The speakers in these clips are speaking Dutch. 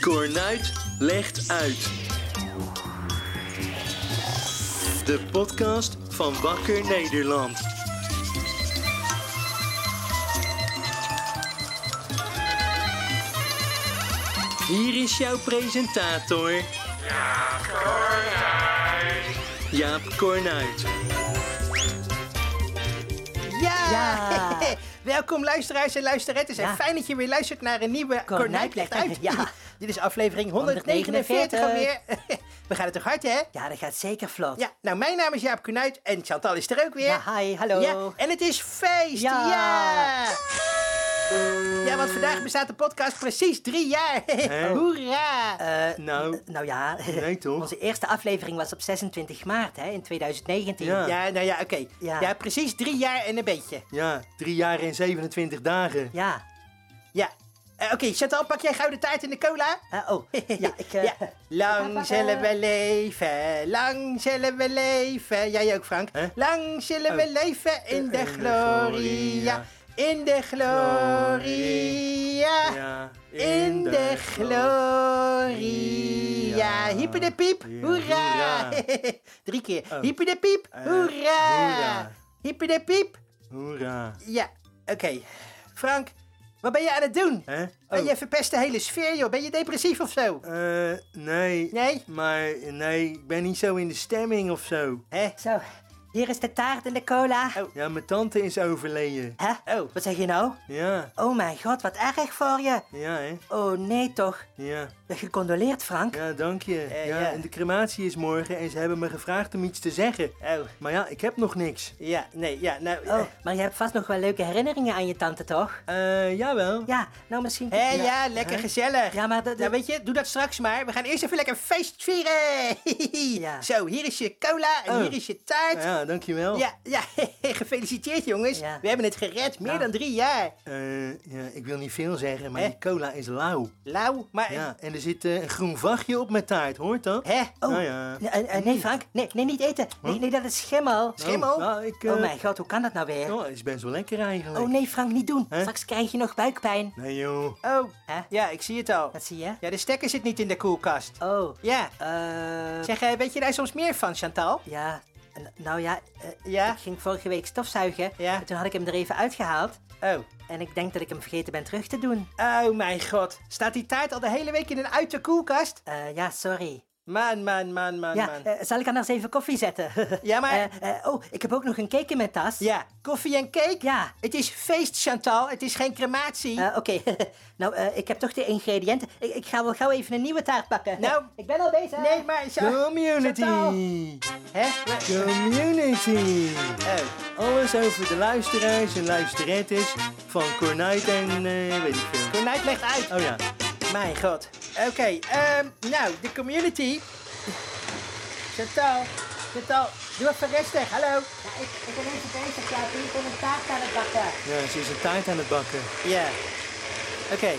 Cornuit legt uit. De podcast van Wakker Nederland. Hier is jouw presentator. Jaap Cornuit. Ja! Ja. Welkom luisteraars en luisterettes. Ja. En fijn dat je weer luistert naar een nieuwe Cornuit legt uit. Ja. Dit is aflevering 149 alweer. 149. We gaan het toch hard, hè? Ja, dat gaat zeker vlot. Ja, nou mijn naam is Jaap Cornuit en Chantal is er ook weer. Ja, hi, hallo. Ja, en het is feest, ja. Ja. ja! want vandaag bestaat de podcast precies drie jaar. Hoera! Eh, Nou, nou ja, Nee, toch? onze eerste aflevering was op 26 maart hè, in 2019. Ja. ja, nou ja, oké. Ja. Ja. precies drie jaar en een beetje. ja, drie jaar en 27 dagen. Ja. Ja. Eh, oké, Chantal, pak jij gouden taart in de cola? Eh, oh, ja, ik... eh, Ja. Lang zullen we leven, lang zullen we leven. Jij ook, Frank. Hè? Oh. Lang zullen we leven in de de gloria, gloria. in de gloria, Ja, in de gloed. gloria. Hyper de piep, Ja. hoera. Hoera. Drie keer. Hyper de piep, Eh, hoera. hoera. Hyper de piep. Hoera. Ja, oké. Frank, wat ben je aan het doen? Hè? Eh, Oh, Je verpest de hele sfeer, joh. Ben je depressief of zo? eh, nee. Nee? Maar nee, ik ben niet zo in de stemming of zo. Hè? Zo, hier is de taart en de cola. Oh. Ja, mijn tante is overleden. Hè? Oh. Wat zeg je nou? Ja, Oh mijn god, wat erg voor je. ja, hè? Oh nee toch. Ja, Gecondoleerd, Frank. ja, dank je. Eh, ja, ja. En de crematie is morgen en ze hebben me gevraagd om iets te zeggen. Oh. Maar ja, ik heb nog niks. Ja, nee, ja, nou... eh, Oh, maar je hebt vast nog wel leuke herinneringen aan je tante, toch? Eh, jawel. Ja, nou misschien... Hé, ja, lekker gezellig. Ja, maar dat... Nou, weet je, doe dat straks maar. We gaan eerst even lekker feest vieren. Ja. Oh. Zo, hier is je cola en Oh. hier is je taart. Ja, dankjewel. Ja, ja, gefeliciteerd jongens. Ja. We hebben het gered, meer Ja. dan drie jaar. Eh, ja, ik wil niet veel zeggen, maar Hè? die cola is lauw. Lauw, maar... Ja, en er zit eh, een groen vachtje op mijn taart, hoort dat? Hè? Oh, Nou ja. nee, eh, eh, nee Frank, nee, nee, niet eten. Nee, nee, dat is schimmel. schimmel? Oh, nou, ik, eh, Oh mijn god, hoe kan dat nou weer? oh, het is best wel lekker eigenlijk. Oh nee, Frank, niet doen. Hè? Straks krijg je nog buikpijn. nee. joh. Oh, Hè? ja, ik zie het al. Dat zie je? Ja, de stekker zit niet in de koelkast. Oh, Ja. eh... Zeg, eh, weet je daar soms meer van, Chantal? Ja, n- nou ja, eh, Ja? ik ging vorige week stofzuigen. Ja. En toen had ik hem er even uitgehaald. Oh. En ik denk dat ik hem vergeten ben terug te doen. Oh mijn god. Staat die taart al de hele week in een uit de koelkast? Eh, ja, sorry. Man, man, man, man, ja, eh, man. zal ik anders even koffie zetten? Ja, maar- Eh, eh, oh, ik heb ook nog een cake in mijn tas. Ja, koffie en cake? Ja. Het is feest, Chantal. Het is geen crematie. Eh, Oké, nou, eh, ik heb toch de ingrediënten. Ik, ik ga wel gauw even een nieuwe taart bakken. Nou. ik ben al bezig. nee, maar... Cha- Community! Chantal. Hè? Community! Oh. Alles over de luisteraars en luisterettes van Cornuit en eh, weet ik veel. Cornuit legt uit. Oh ja, Mijn god. Oké, ehm, nou, de community. Chantal, Chantal, doe even rustig. Hallo. ik, ben even bezig, ja. Ik ben een taart aan het bakken. ja ze is een taart aan het bakken. Ja. Oké.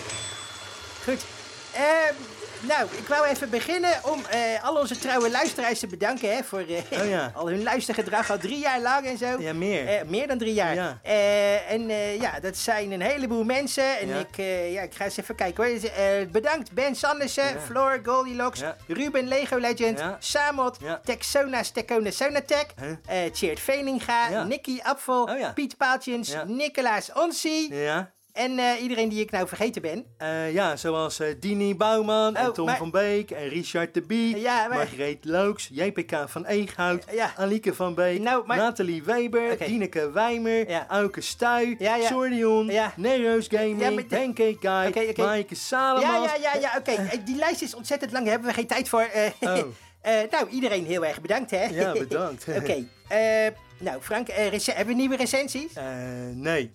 Goed. Ehm, nou, ik wou even beginnen om eh, al onze trouwe luisteraars te bedanken hè, voor eh, Oh ja. al hun luistergedrag al drie jaar lang en zo. Ja, meer. Eh, meer dan drie jaar. Ja. Eh, en eh, ja, dat zijn een heleboel mensen. En Ja. ik, eh, ja, ik ga eens even kijken hoor. Dus, eh, bedankt Ben Sandersen, Ja. Floor Goldilocks, Ja. Ruben Lego Legend, Ja. Samot, Ja. Texona Stekona Sonatech, Huh? eh Tjeerd Veninga, Ja. Nicky Apfel, Oh ja. Piet Paaltjens, Ja. Nicolaas Onsie. Ja? En eh, iedereen die ik nou vergeten ben. Eh, ja, zoals eh, Dini Bouwman Oh, en Tom maar- van Beek en Richard de Bie, Ja, maar- Margreet Looks, JPK van Eeghout, Ja. Alieke van Beek, Nou, maar- Nathalie Weber, Oké. Dineke Wijmer, Ja. Auke Stuy, Ja, ja. Sordion, Ja. Nero's Gaming, Ja, maar de- Pancake Guy, Oké, oké. Maaike Salomans. Ja, ja, ja, ja oké. Eh, Die lijst is ontzettend lang, daar hebben we geen tijd voor. Eh, Oh. eh, nou, iedereen heel erg bedankt, hè? Ja, bedankt. oké. eh, nou, Frank, eh, rece- hebben we nieuwe recensies? Eh, nee,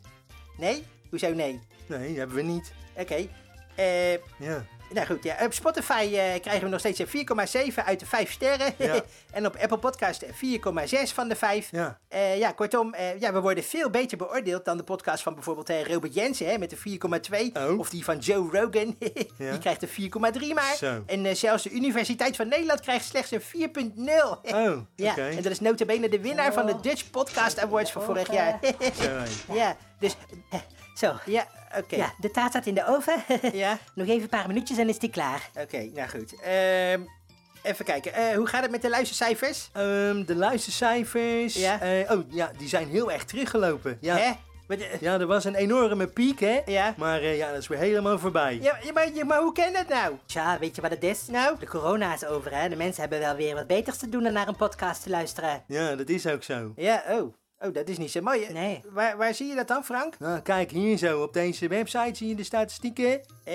Nee? Hoezo nee? nee, hebben we niet. Oké. Eh, Ja. nou goed, ja. op Spotify eh, krijgen we nog steeds een 4,7 uit de 5 sterren. Ja. en op Apple eh, Podcast 4,6 van de 5. Ja. Eh, ja, kortom, eh, ja, we worden veel beter beoordeeld dan de podcast van bijvoorbeeld eh, Robert Jensen hè, met de 4,2. Oh. Of die van Joe Rogan, Ja. die krijgt een 4,3 maar. Zo. En eh, zelfs de Universiteit van Nederland krijgt slechts een 4,0. Oh, oké. Eh, Ja, en dat is notabene de winnaar van de Oh. Dutch Podcast Awards van vorig jaar. Zo, hé. ja, dus eh, Zo. Ja, oké. Ja, de taart staat in de oven. Ja. Nog even een paar minuutjes en is die klaar. Oké, nou goed. Ehm, even kijken. Eh, hoe gaat het met de luistercijfers? Oh, Ehm, de luistercijfers. Ja. eh, oh ja, die zijn heel erg teruggelopen. Ja. Hè? Met, eh, Ja, er was een enorme piek, hè? Ja. Maar eh, ja, dat is weer helemaal voorbij. ja, ja, maar, ja, maar hoe kan dat nou? Tja, weet je wat het is? Nou? De corona is over, hè? De mensen hebben wel weer wat beters te doen dan naar een podcast te luisteren. Ja, dat is ook zo. Ja, oh. Oh, dat is niet zo mooi. Eh, Nee. Waar, waar zie je dat dan, Frank? Nou, kijk hier zo. Op deze website zie je de statistieken. Eh,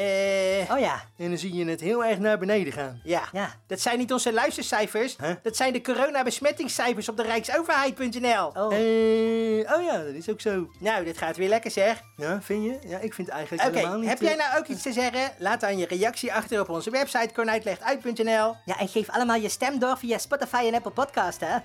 Oh ja, En dan zie je het heel erg naar beneden gaan. ja. ja. Dat zijn niet onze luistercijfers. Huh? Dat zijn de coronabesmettingscijfers op de rijksoverheid.nl. Oh, Eh, oh ja, dat is ook zo. Nou, dit gaat weer lekker zeg. Ja, vind je? Ja, ik vind het eigenlijk Oké, helemaal niet... heb jij nou ook iets te zeggen? Laat dan je reactie achter op onze website kornuitlegt.nl. Ja, en geef allemaal je stem door via Spotify en Apple Podcast, hè?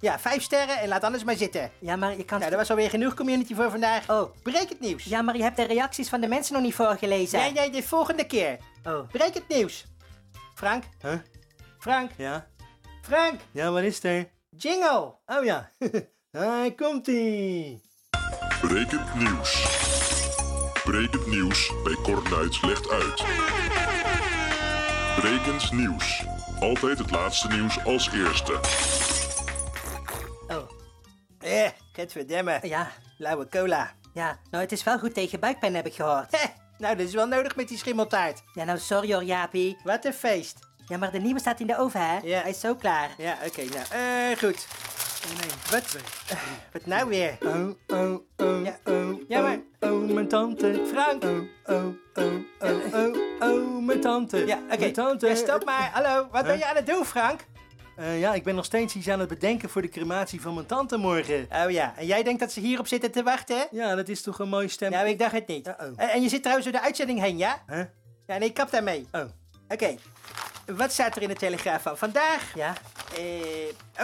Ja, vijf sterren en laat anders maar zitten. ja, maar je kan... Nou, dat was alweer genoeg community voor vandaag. Oh. Breek het nieuws. Ja, maar je hebt de reacties van de mensen nog niet voorgelezen. Nee, nee, de volgende keer. Oh, Breek het nieuws. Frank, eh, Huh? Frank, Ja? Frank, Ja, wat is er? jingle. Oh ja. Daar komt-ie. Brekend nieuws. Brekend nieuws bij Kornuit legt uit. Brekend nieuws. Altijd het laatste nieuws als eerste. oh, Eh, getverdemme. ja, Lauwe cola. ja. Nou, het is wel goed tegen buikpijn, heb ik gehoord. Heh, nou, dat is wel nodig met die schimmeltaart. Ja, nou, sorry hoor, Jaapie. Wat een feest. Ja, maar de nieuwe staat in de oven, hè? Ja. Hij is zo klaar. Ja, oké, nou, eh, goed. Wat? Wat nou weer? Oh, oh, oh, Ja. oh, Ja, maar- oh, oh, mijn tante. Frank. Oh, oh, oh, oh, oh, oh, mijn tante. Ja, oké. Mijn tante. Ja, stop maar. Hallo, wat ben je aan het doen, Frank? Eh, ja, ik ben nog steeds iets aan het bedenken voor de crematie van mijn tante morgen. Oh ja, en jij denkt dat ze hierop zitten te wachten, hè? Ja, dat is toch een mooi stem. Nou, ik dacht het niet. Uh-oh. En, en je zit trouwens door de uitzending heen, ja? Huh? Ja, nee, kap daarmee. Oh, Oké, wat staat er in de Telegraaf van vandaag? Ja, Eh,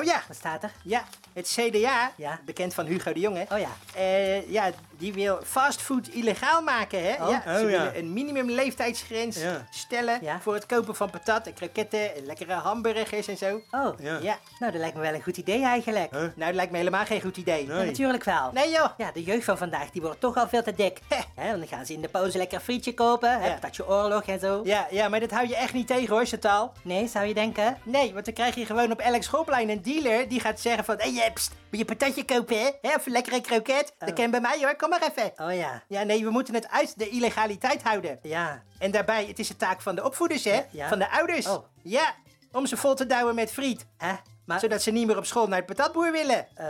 oh ja, wat staat er? ja, het CDA, Ja. bekend van Hugo de Jonge. Oh ja. Eh, ja, die wil fastfood illegaal maken, hè? Oh. ja, ze Oh, ja. willen een minimumleeftijdsgrens Ja. stellen Ja. voor het kopen van patat en kroketten en lekkere hamburgers en zo. Oh, ja. Ja, nou, dat lijkt me wel een goed idee eigenlijk. Huh? nou, dat lijkt me helemaal geen goed idee. Nee. Ja, natuurlijk wel. Nee, joh. Ja, de jeugd van vandaag, die wordt toch al veel te dik. Heh. Hè, want dan gaan ze in de pauze lekker een frietje kopen, Ja. hè, patatje oorlog en zo. Ja, ja, maar dat hou je echt niet tegen hoor, Chantal. Nee, zou je denken? Nee, want dan krijg je gewoon op elk schoolplein een dealer die gaat zeggen van... Hé, hey, eh, pst, wil je patatje kopen, hè? Hè, Of een lekkere kroket? Dat kan bij mij hoor, kom maar even. Oh ja, Ja, nee, we moeten het uit de illegaliteit houden. ja. En daarbij, het is de taak van de opvoeders, hè? ja. Van de ouders. Oh. Ja, om ze vol te douwen met friet. Hè? Maar, Zodat ze niet meer op school naar het patatboer willen. eh,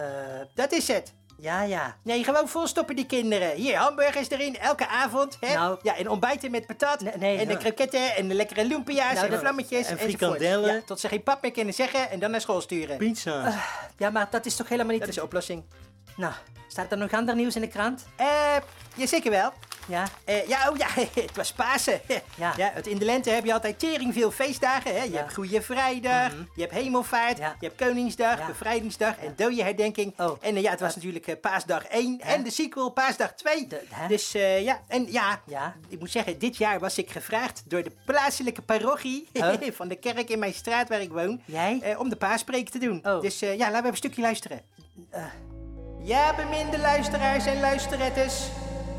Dat is het. ja, ja. Nee, gewoon volstoppen die kinderen. Hier, hamburgers erin, elke avond. Hè? Nou. Ja, en ontbijten met patat. Nee, nee, en de ja. kroketten en de lekkere lumpia's Nou, en de dat- vlammetjes. en enzovoort. frikandellen. Ja, tot ze geen pap meer kunnen zeggen en dan naar school sturen. pizza. Ah. Ja, maar dat is toch helemaal niet... Dat is de oplossing. Nou, staat er nog ander nieuws in de krant? Eh, ja, zeker wel. Ja, Eh, ja, oh ja, het was Pasen. Ja. het, in de lente heb je altijd tering veel feestdagen. Hè? Je Ja. Mhm. hebt Goede Vrijdag, je hebt Hemelvaart, Ja. je hebt Koningsdag, Ja. Bevrijdingsdag en Dodenherdenking. Oh. En eh, ja, het was natuurlijk eh, Paasdag 1 en de sequel Paasdag 2. De- hè? dus eh, ja, en ja, Ja. ik moet zeggen, dit jaar was ik gevraagd door de plaatselijke parochie Huh? van de kerk in mijn straat waar ik woon. Oh. Jij? eh, om de paaspreek te doen. Oh. Dus eh, ja, laten we even een stukje luisteren. Eh. Ja, beminde luisteraars en luisterettes.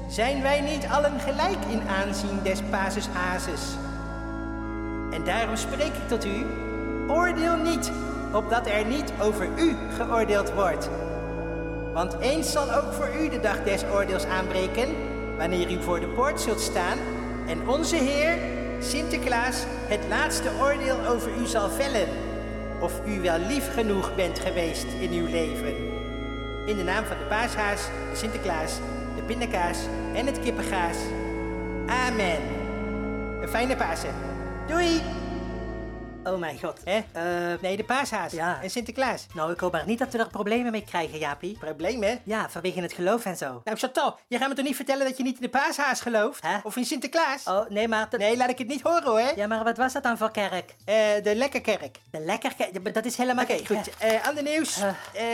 Zijn wij niet allen gelijk in aanzien des Pases Hazes? En daarom spreek ik tot u. Oordeel niet, opdat er niet over u geoordeeld wordt. Want eens zal ook voor u de dag des oordeels aanbreken, wanneer u voor de poort zult staan en onze Heer, Sinterklaas, het laatste oordeel over u zal vellen. Of u wel lief genoeg bent geweest in uw leven. In de naam van de paashaas, de Sinterklaas, de pindakaas en het kippengaas. Amen. Een fijne Pasen. Doei! oh mijn god. Hè? Eh, Nee, de paashaas Ja. en Sinterklaas. nou, ik hoop maar niet dat we er problemen mee krijgen, Jaapie. Probleem, hè? Ja, vanwege het geloof en zo. Nou, Chantal, je gaat me toch niet vertellen dat je niet in de paashaas gelooft? Hè? Of in Sinterklaas? Oh, nee, maar... dat- Nee, laat ik het niet horen hoor. Ja, maar wat was dat dan voor kerk? Eh, de lekkerkerk. De lekker kerk? Ja, maar Dat is helemaal... Oké, goed. Eh, ander nieuws. Eh.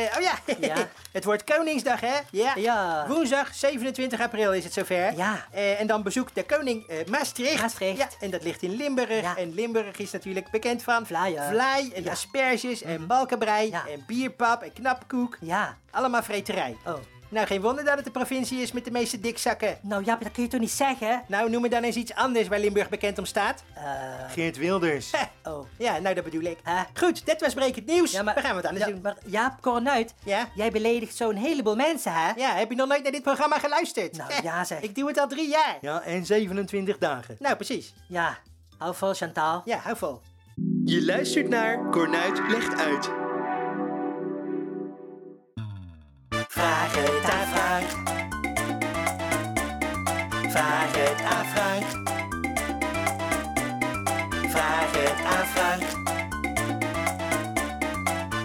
Eh, oh ja. Ja. het wordt Koningsdag, hè? Ja. Ja. Woensdag 27 april is het zover. Ja. Eh, en dan bezoekt de koning eh, Maastricht. Maastricht. Ja, en dat ligt in Limburg. Ja. En Limburg is natuurlijk bekend van... Vlaaien. Vlaai en Ja. Mhm. asperges en balkenbrei Ja. en bierpap en knapkoek. Ja. Allemaal vreterij. Oh, Nou, geen wonder dat het de provincie is met de meeste dikzakken. Nou ja, maar dat kun je toch niet zeggen? hè? Nou, noem me dan eens iets anders waar Limburg bekend om staat. Eh, Geert Wilders. Oh. Ja, nou, dat bedoel ik. Hè? Goed, dat was brekend nieuws. Ja, maar, We gaan wat anders ja, doen. Maar Jaap, Cornuit, Ja? jij beledigt zo'n heleboel mensen, hè? Ja, heb je nog nooit naar dit programma geluisterd? Nou, ja, zeg. Ik doe het al drie jaar. Ja, en 27 dagen. Nou, precies. Ja. Hou vol, Chantal. Ja, hou vol. Je luistert naar Cornuit legt uit. Vraag het aan Frank. Vraag het aan Frank. Vraag het aan Frank.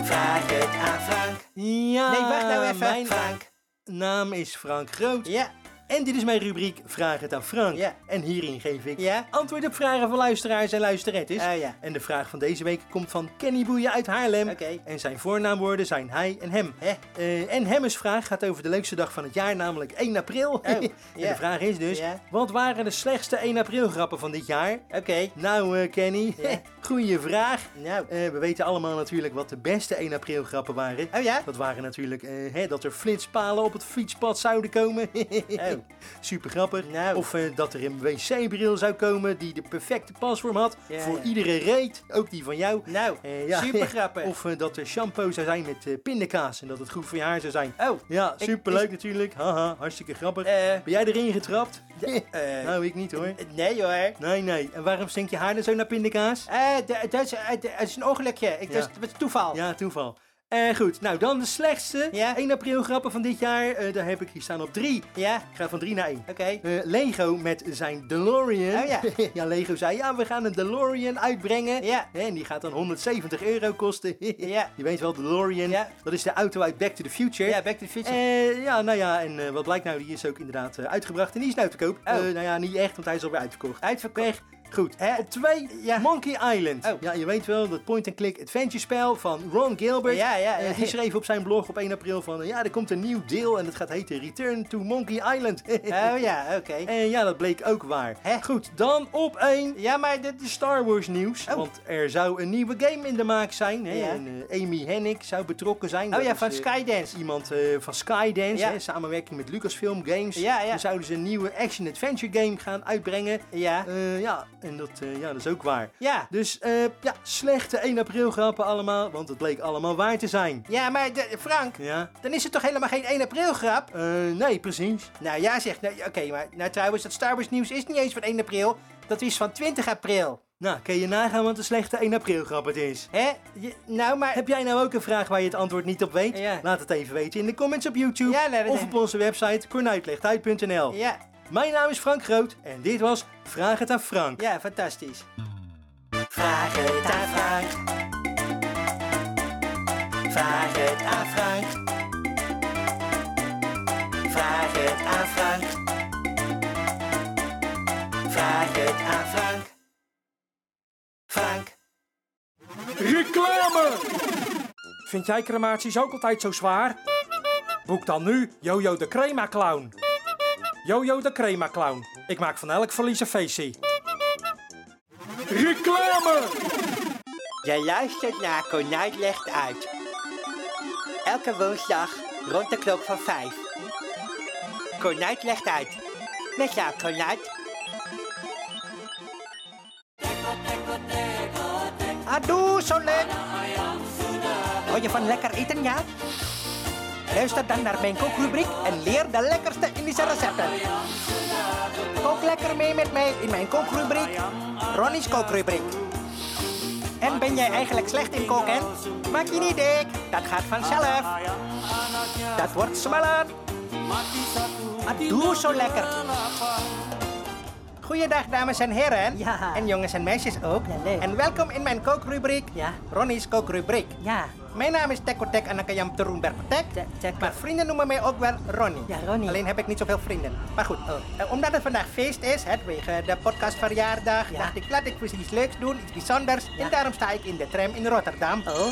Vraag het aan Frank. Ja, Nee, wacht nou even. Mijn Frank. naam is Frank Groot. Ja. En dit is mijn rubriek Vraag het aan Frank. Ja. En hierin geef ik Ja. antwoord op vragen van luisteraars en luisterettes. Ah, ja. En de vraag van deze week komt van Kenny Boeien uit Haarlem. Oké. En zijn voornaamwoorden zijn hij en hem. Hè? Eh, en hemmes vraag gaat over de leukste dag van het jaar, namelijk 1 april. en Oh, ja. de vraag is dus, Ja. wat waren de slechtste 1 april grappen van dit jaar? Oké. Nou, eh, Kenny, Ja. goeie vraag. Nou. Eh, we weten allemaal natuurlijk wat de beste 1 april grappen waren. Oh ja? Dat waren natuurlijk eh, hè, dat er flitspalen op het fietspad zouden komen. Oh. Super grappig. Nou. Of eh, dat er een wc-bril zou komen die de perfecte pasvorm had Ja, voor ja. iedere reet. Ook die van jou. Nou, Eh, ja. super grappig. Of eh, dat er shampoo zou zijn met eh, pindakaas en dat het goed voor je haar zou zijn. Oh. Ja, Ik- superleuk is- natuurlijk. Haha, hartstikke grappig. Eh. ben jij erin getrapt? Eh, nou, ik niet hoor. Nee hoor. Nee, nee. En waarom stinkt je haar dan zo naar pindakaas? Eh, d- dat is, eh, d- dat is een ongelukje. Ik, Ja. dat, is, dat is toeval. Ja, toeval. Eh goed, nou dan de slechtste Ja. 1 april grappen van dit jaar. Eh, daar heb ik hier staan op 3. Ja, Ik ga van 3 naar 1. Oké. Lego met zijn DeLorean. Oh ja. ja, Lego zei ja, we gaan een DeLorean uitbrengen. Ja. Hè, En die gaat dan 170 euro kosten. Ja. Je weet wel, DeLorean, Ja. dat is de auto uit Back to the Future. Ja, Back to the Future. Eh, ja, nou ja, en eh, wat blijkt nou, die is ook inderdaad eh, uitgebracht. En die is nou te koop. Oh. Eh, nou ja, niet echt, want hij is alweer uitverkocht. Uitverkocht. Goed, Hè? op twee, Ja. Monkey Island. Oh. Ja, je weet wel, dat point-and-click adventure spel van Ron Gilbert. Ja, ja, Eh, ja. die schreef op zijn blog op 1 april van, eh, ja, er komt een nieuw deel en het gaat heten Return to Monkey Island. Oh ja, oké. En ja, dat bleek ook waar. Hè? Goed, dan op één Ja, maar dit de is... Star Wars nieuws. Oh. Want er zou een nieuwe game in de maak zijn. Hè? Ja. En eh, Amy Hennig zou betrokken zijn. Oh Dat ja, is, van eh, Skydance. Iemand eh, van Skydance, Ja. hè, samenwerking met Lucasfilm Games. Ja, ja. Dan zouden ze een nieuwe action-adventure game gaan uitbrengen. Ja. Eh, ja, en dat, eh, ja, dat is ook waar. Ja. Dus eh, ja, slechte 1 april grappen allemaal, want het bleek allemaal waar te zijn. Ja, maar de- Frank, Ja? dan is het toch helemaal geen 1 april grap? Eh, nee, precies. Nou ja, zeg. Nou, Oké, maar nou, trouwens, dat Star Wars nieuws is niet eens van 1 april. Dat is van 20 april. Nou, kun je nagaan wat een slechte 1 april grap het is. Hè? Je- nou, maar... Heb jij nou ook een vraag waar je het antwoord niet op weet? Ja. Laat het even weten in de comments op YouTube Ja, nee, dat- of op onze website cornuitlegtuit.nl. Ja, Oh. Mijn naam is Frank Groot en dit was Vraag het aan Frank. ja, fantastisch. Vraag het aan Frank. Vraag het aan Frank. Vraag het aan Frank. Vraag het aan Frank. Frank. Reclame! Vind jij crematies ook altijd zo zwaar? Boek dan nu Jojo de Crema Clown. Jojo de Crema Clown. Ik maak van elk verlies een feestje. Reclame! Jij luistert naar Konijn Legt Uit. Elke woensdag rond de klok van vijf. Konijn Legt Uit. Met jou, Konijn. Adoe, zo leuk. Hou je van lekker eten, ja? Luister dan naar mijn kookrubriek en leer de lekkerste Indische recepten. Kook lekker mee met mij in mijn kookrubriek. Ronnie's kookrubriek. En ben jij eigenlijk slecht in koken? Maak je niet dik, dat gaat vanzelf. Dat wordt smaller. Maar doe zo lekker. Goeiedag dames en heren. Ja. En jongens en meisjes ook. Ja, leuk. En welkom in mijn kookrubriek. Ja. Ronnie's kookrubriek. Ja, Mijn naam is Tekko Tek Anakayam Terumberg Te- Tek. Tekko. Maar vrienden noemen mij ook wel Ronnie. Ja, Ronnie. Alleen heb ik niet zoveel vrienden. Maar goed, eh, omdat het vandaag feest is, hè, wegen de podcastverjaardag, Ja. dacht ik, laat ik precies iets leuks doen, iets bijzonders. Ja. En daarom sta ik in de tram in Rotterdam. oh.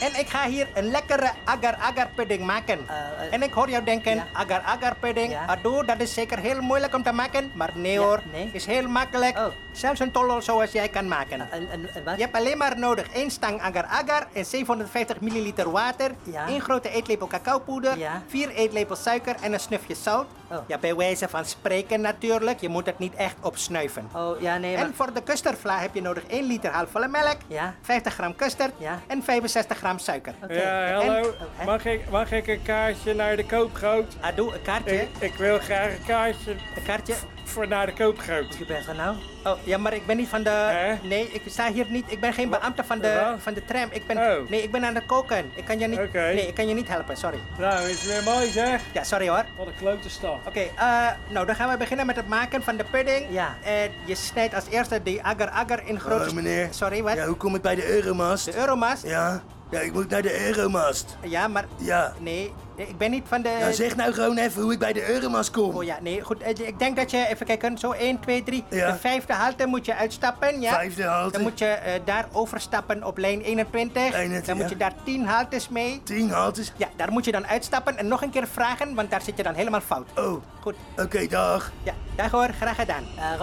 En ik ga hier een lekkere agar-agar pudding maken. Eh, eh, en ik hoor jou denken, ja. agar-agar pudding, Ja. adoe, dat is zeker heel moeilijk om te maken. Maar nee Ja, hoor, nee. is heel makkelijk. Oh. Eh, Zelfs een tollol zoals jij kan maken. Een, een, een wat? Je hebt alleen maar nodig één stang agar-agar en 750 milliliter water, Ja. één grote eetlepel cacaopoeder, Ja. vier eetlepels suiker en een snufje zout. Oh. Ja, bij wijze van spreken natuurlijk, je moet het niet echt opsnuiven. Oh, ja, nee, maar... En voor de custardvla heb je nodig 1 liter halfvolle melk, Ja. 50 gram custard Ja. en 65 gram suiker. Oké. Ja, hallo. En- oh, hè? Mag ik, mag ik een kaartje naar de koopgroot? Adoe, een kaartje. Ik, ik wil graag een kaartje Een kaartje. voor naar de koopgroot. Je bent er nou? Oh, ja, maar ik ben niet van de... Hè? Nee, ik sta hier niet. Ik ben geen beambte van de, Wat? van de tram. Ik ben... Oh. Nee, ik ben aan het koken. Ik kan je niet... Oké. Nee, ik kan je niet helpen, sorry. Nou, is weer mooi zeg. Ja, sorry hoor. Wat een klote stad. Oké, eh, nou dan gaan we beginnen met het maken van de pudding. Ja. En je snijdt als eerste die agar-agar in grote... Hallo meneer. Sorry, wat? Ja, hoe kom ik bij de Euromast? De euromast? Ja? Ja, ik moet naar de Euromast. Ja, maar... Ja. Nee, ik ben niet van de... Ja, zeg nou gewoon even hoe ik bij de Euromast kom. Eh, Oh ja, nee, goed. eh, Ik denk dat je, even kijken, zo 1, 2, 3. Ja. De vijfde halte moet je uitstappen, ja. Vijfde halte. Dan moet je eh, daar overstappen op lijn 21. 21, dan moet ja. je daar 10 haltes mee. Tien haltes. Ja, daar moet je dan uitstappen en nog een keer vragen, want daar zit je dan helemaal fout. Oh, Goed, oké, dag. ja, dag hoor, graag gedaan. Oké, Eh,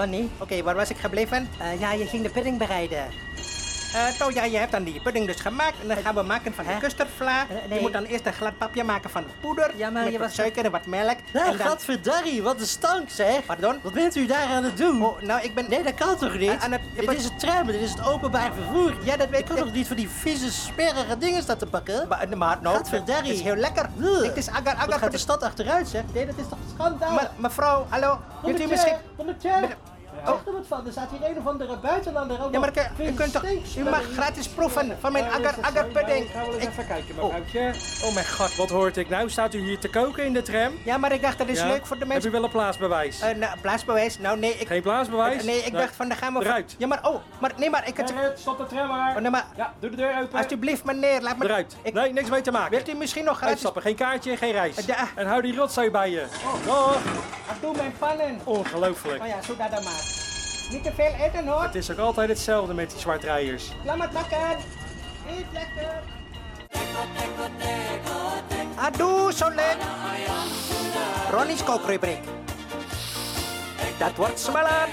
Ronnie? waar was ik gebleven? Eh, ja, je ging de pudding bereiden. Eh nou ja, je hebt dan die pudding dus gemaakt en dan gaan we maken van de Hè? custardvla. Eh, Je nee. moet dan eerst een glad papje maken van poeder, Ja, maar met je wat was- suiker en wat melk. Hé, en dan- gadverdarrie, wat een stank zeg. Pardon? Wat bent u daar aan het doen? Oh, nou, ik ben... Nee, dat kan toch Aan- niet? aan het- Dit is het tram, dit is het openbaar vervoer. Ja, dat weet ik. kan ik. toch niet van die vieze, smerige dingen staan te pakken? Maar, maar nou, het Gadverdarrie. is heel lekker. Ugh. Het is agar Wat agar. gaat de stad achteruit, zeg? Nee, dat is toch schandaal? Maar, mevrouw, hallo. Kunt u Conducteur, misschien... Conducteur, Met- Zeg er wat van, er staat hier een of andere buitenlander. ook Ja, maar nog ik- u vieze kunt toch... U steekspullen mag in. gratis proeven van mijn Nou, is agar dat agar zo? Nou, pudding. Ik ga wel eens Ik- even kijken, Oh. mevrouwtje. Oh mijn god, wat hoort ik nou? Staat u hier te koken in de tram? Ja, maar ik dacht dat is Ja. leuk voor de Heb mensen. u wel een plaatsbewijs? Eh, nou, plaatsbewijs? Nou, nee, ik... Geen plaatsbewijs? Eh, Nee, ik dacht van, dan gaan we... Eruit. Ja, maar, oh, maar, nee, maar ik... Het... Gerrit, stop de tram Oh, maar. nee, maar, Ja, doe de deur open. alsjeblieft, meneer, laat me... Eruit. Ik... Nee, niks mee te maken. Wilt u misschien nog gratis... Uitstappen, geen kaartje, geen reis. Ja. En hou die rotzooi bij je. Dag. Ah, Doe mijn pannen. Ongelooflijk. Oh ja, zo dat dan maar. Niet te veel eten, hoor. Het is ook altijd hetzelfde met die zwartrijers. Laat maar bakken. Eet lekker. Adoe, zo leuk. Ronnie's kookrubriek. Dat wordt smaller.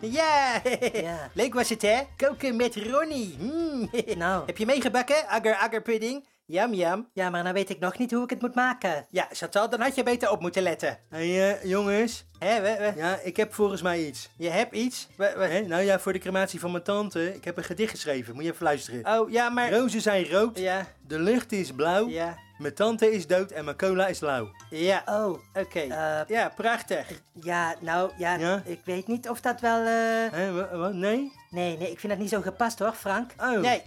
Ja, Ja. leuk was het hè? Koken met Ronnie. Mm. Nou. Heb je meegebakken? Agar agar pudding. Yum yum. Ja, maar dan weet ik nog niet hoe ik het moet maken. Ja, Chantal, dan had je beter op moeten letten. Hé, eh, jongens. Hè, we- we- Ja, ik heb volgens mij iets. Je hebt iets? We- we- Hè? Nou ja, voor de crematie van mijn tante. Ik heb een gedicht geschreven. Moet je even luisteren. Oh, ja, maar... Rozen zijn rood. Ja, De lucht is blauw. ja, Mijn tante is dood en mijn cola is lauw. ja. Oh, Oké. Eh, ja, prachtig. ja, nou, ja, Ja? ik weet niet of dat wel... eh, Hè, wa- wat? Nee? Nee, nee, ik vind dat niet zo gepast hoor, Frank. Oh. Nee,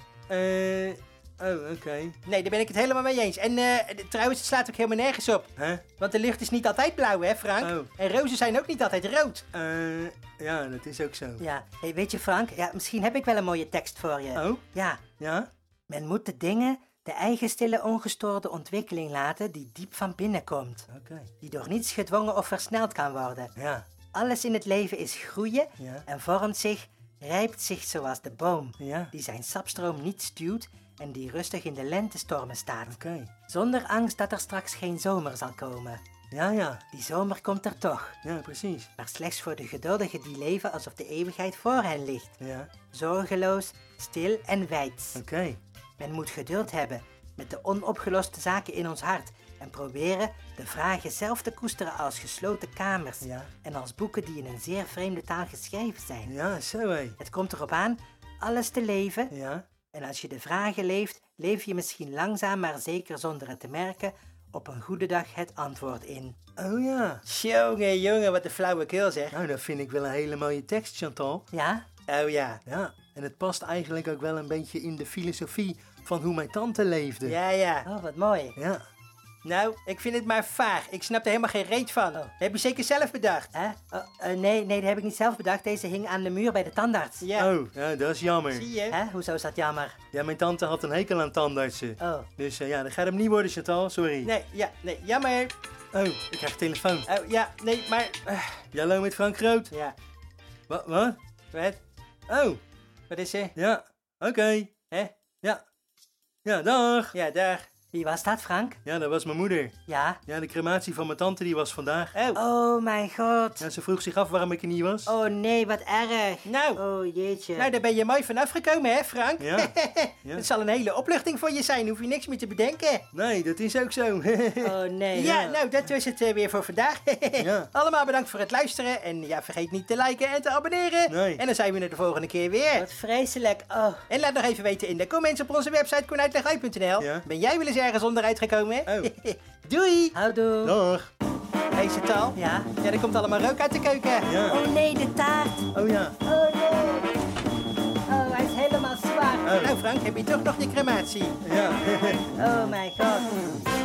Eh, oh, oké. nee, daar ben ik het helemaal mee eens. En eh, d- trouwens, het slaat ook helemaal nergens op. Hè? Want de lucht is niet altijd blauw, hè, Frank? Oh. En rozen zijn ook niet altijd rood. Eh, ja, dat is ook zo. Ja, hey, weet je Frank, ja, misschien heb ik wel een mooie tekst voor je. Oh, Ja, ja? men moet de dingen de eigen stille ongestoorde ontwikkeling laten die diep van binnen komt. Oké. Die door niets gedwongen of versneld kan worden. Ja, Alles in het leven is groeien Ja. en vormt zich, rijpt zich zoals de boom. Ja. Die zijn sapstroom niet stuwt en die rustig in de lentestormen staat. oké. Zonder angst dat er straks geen zomer zal komen. Ja, ja. Die zomer komt er toch, Ja, precies. maar slechts voor de geduldigen die leven alsof de eeuwigheid voor hen ligt. Ja, Zorgeloos, stil en wijds. oké. Men moet geduld hebben met de onopgeloste zaken in ons hart en proberen de vragen zelf te koesteren als gesloten kamers Ja. en als boeken die in een zeer vreemde taal geschreven zijn. Ja, zo hé. Het komt erop aan alles te leven Ja, en als je de vragen leeft, leef je misschien langzaam maar zeker zonder het te merken op een goede dag het antwoord in. oh ja. Jongen, jongen, wat een flauwekul zeg. Nou, dat vind ik wel een hele mooie tekst, Chantal. Ja? Oh ja. Ja, en het past eigenlijk ook wel een beetje in de filosofie van hoe mijn tante leefde. Ja, ja. Oh, wat mooi. Ja, Nou, ik vind het maar vaag. Ik snap er helemaal geen reet van. Heb je zeker zelf bedacht? Hè? Oh, eh, nee, nee, dat heb ik niet zelf bedacht. Deze hing aan de muur bij de tandarts. Ja. Oh, ja, dat is jammer. Zie je? Hè? Hoezo is dat jammer? Ja, mijn tante had een hekel aan tandartsen. Oh. Dus eh, ja, dat gaat hem niet worden, Chantal, sorry. Nee, ja, nee, jammer. Oh, ik krijg telefoon. Oh ja, nee, maar... eh, Hallo met Frank Groot. ja, Wat, wat? wat? Oh, Wat is er? ja, oké. Hè? Ja. Ja, dag. Ja, daar. Wie was dat, Frank? Ja, dat was mijn moeder. Ja. Ja, de crematie van mijn tante die was vandaag. Oh, mijn god. Ja, ze vroeg zich af waarom ik er niet was. Oh nee, wat erg. Nou, Oh jeetje. nou, daar ben je mooi vanaf gekomen, hè, Frank? Ja. Het zal een hele opluchting voor je zijn, hoef je niks meer te bedenken. Nee, dat is ook zo. Oh nee. Ja, nou, dat was het eh, weer voor vandaag. Ja. Allemaal bedankt voor het luisteren. En ja, vergeet niet te liken en te abonneren. Nee. En dan zijn we er de volgende keer weer. Wat vreselijk. Oh. En laat nog even weten in de comments op onze website koenuitlegui.nl. Ja. Ben jij wel eens ergens onderuit gekomen? Oh. Doei! Houdoe. Nou. Dag. Deze taal. Ja. Ja, er komt allemaal rook uit de keuken. Ja. Oh nee, de taart. Oh ja. Oh nee. Oh, hij is helemaal zwaar. Oh. Nou Frank, heb je toch nog je crematie? Ja. Oh mijn god.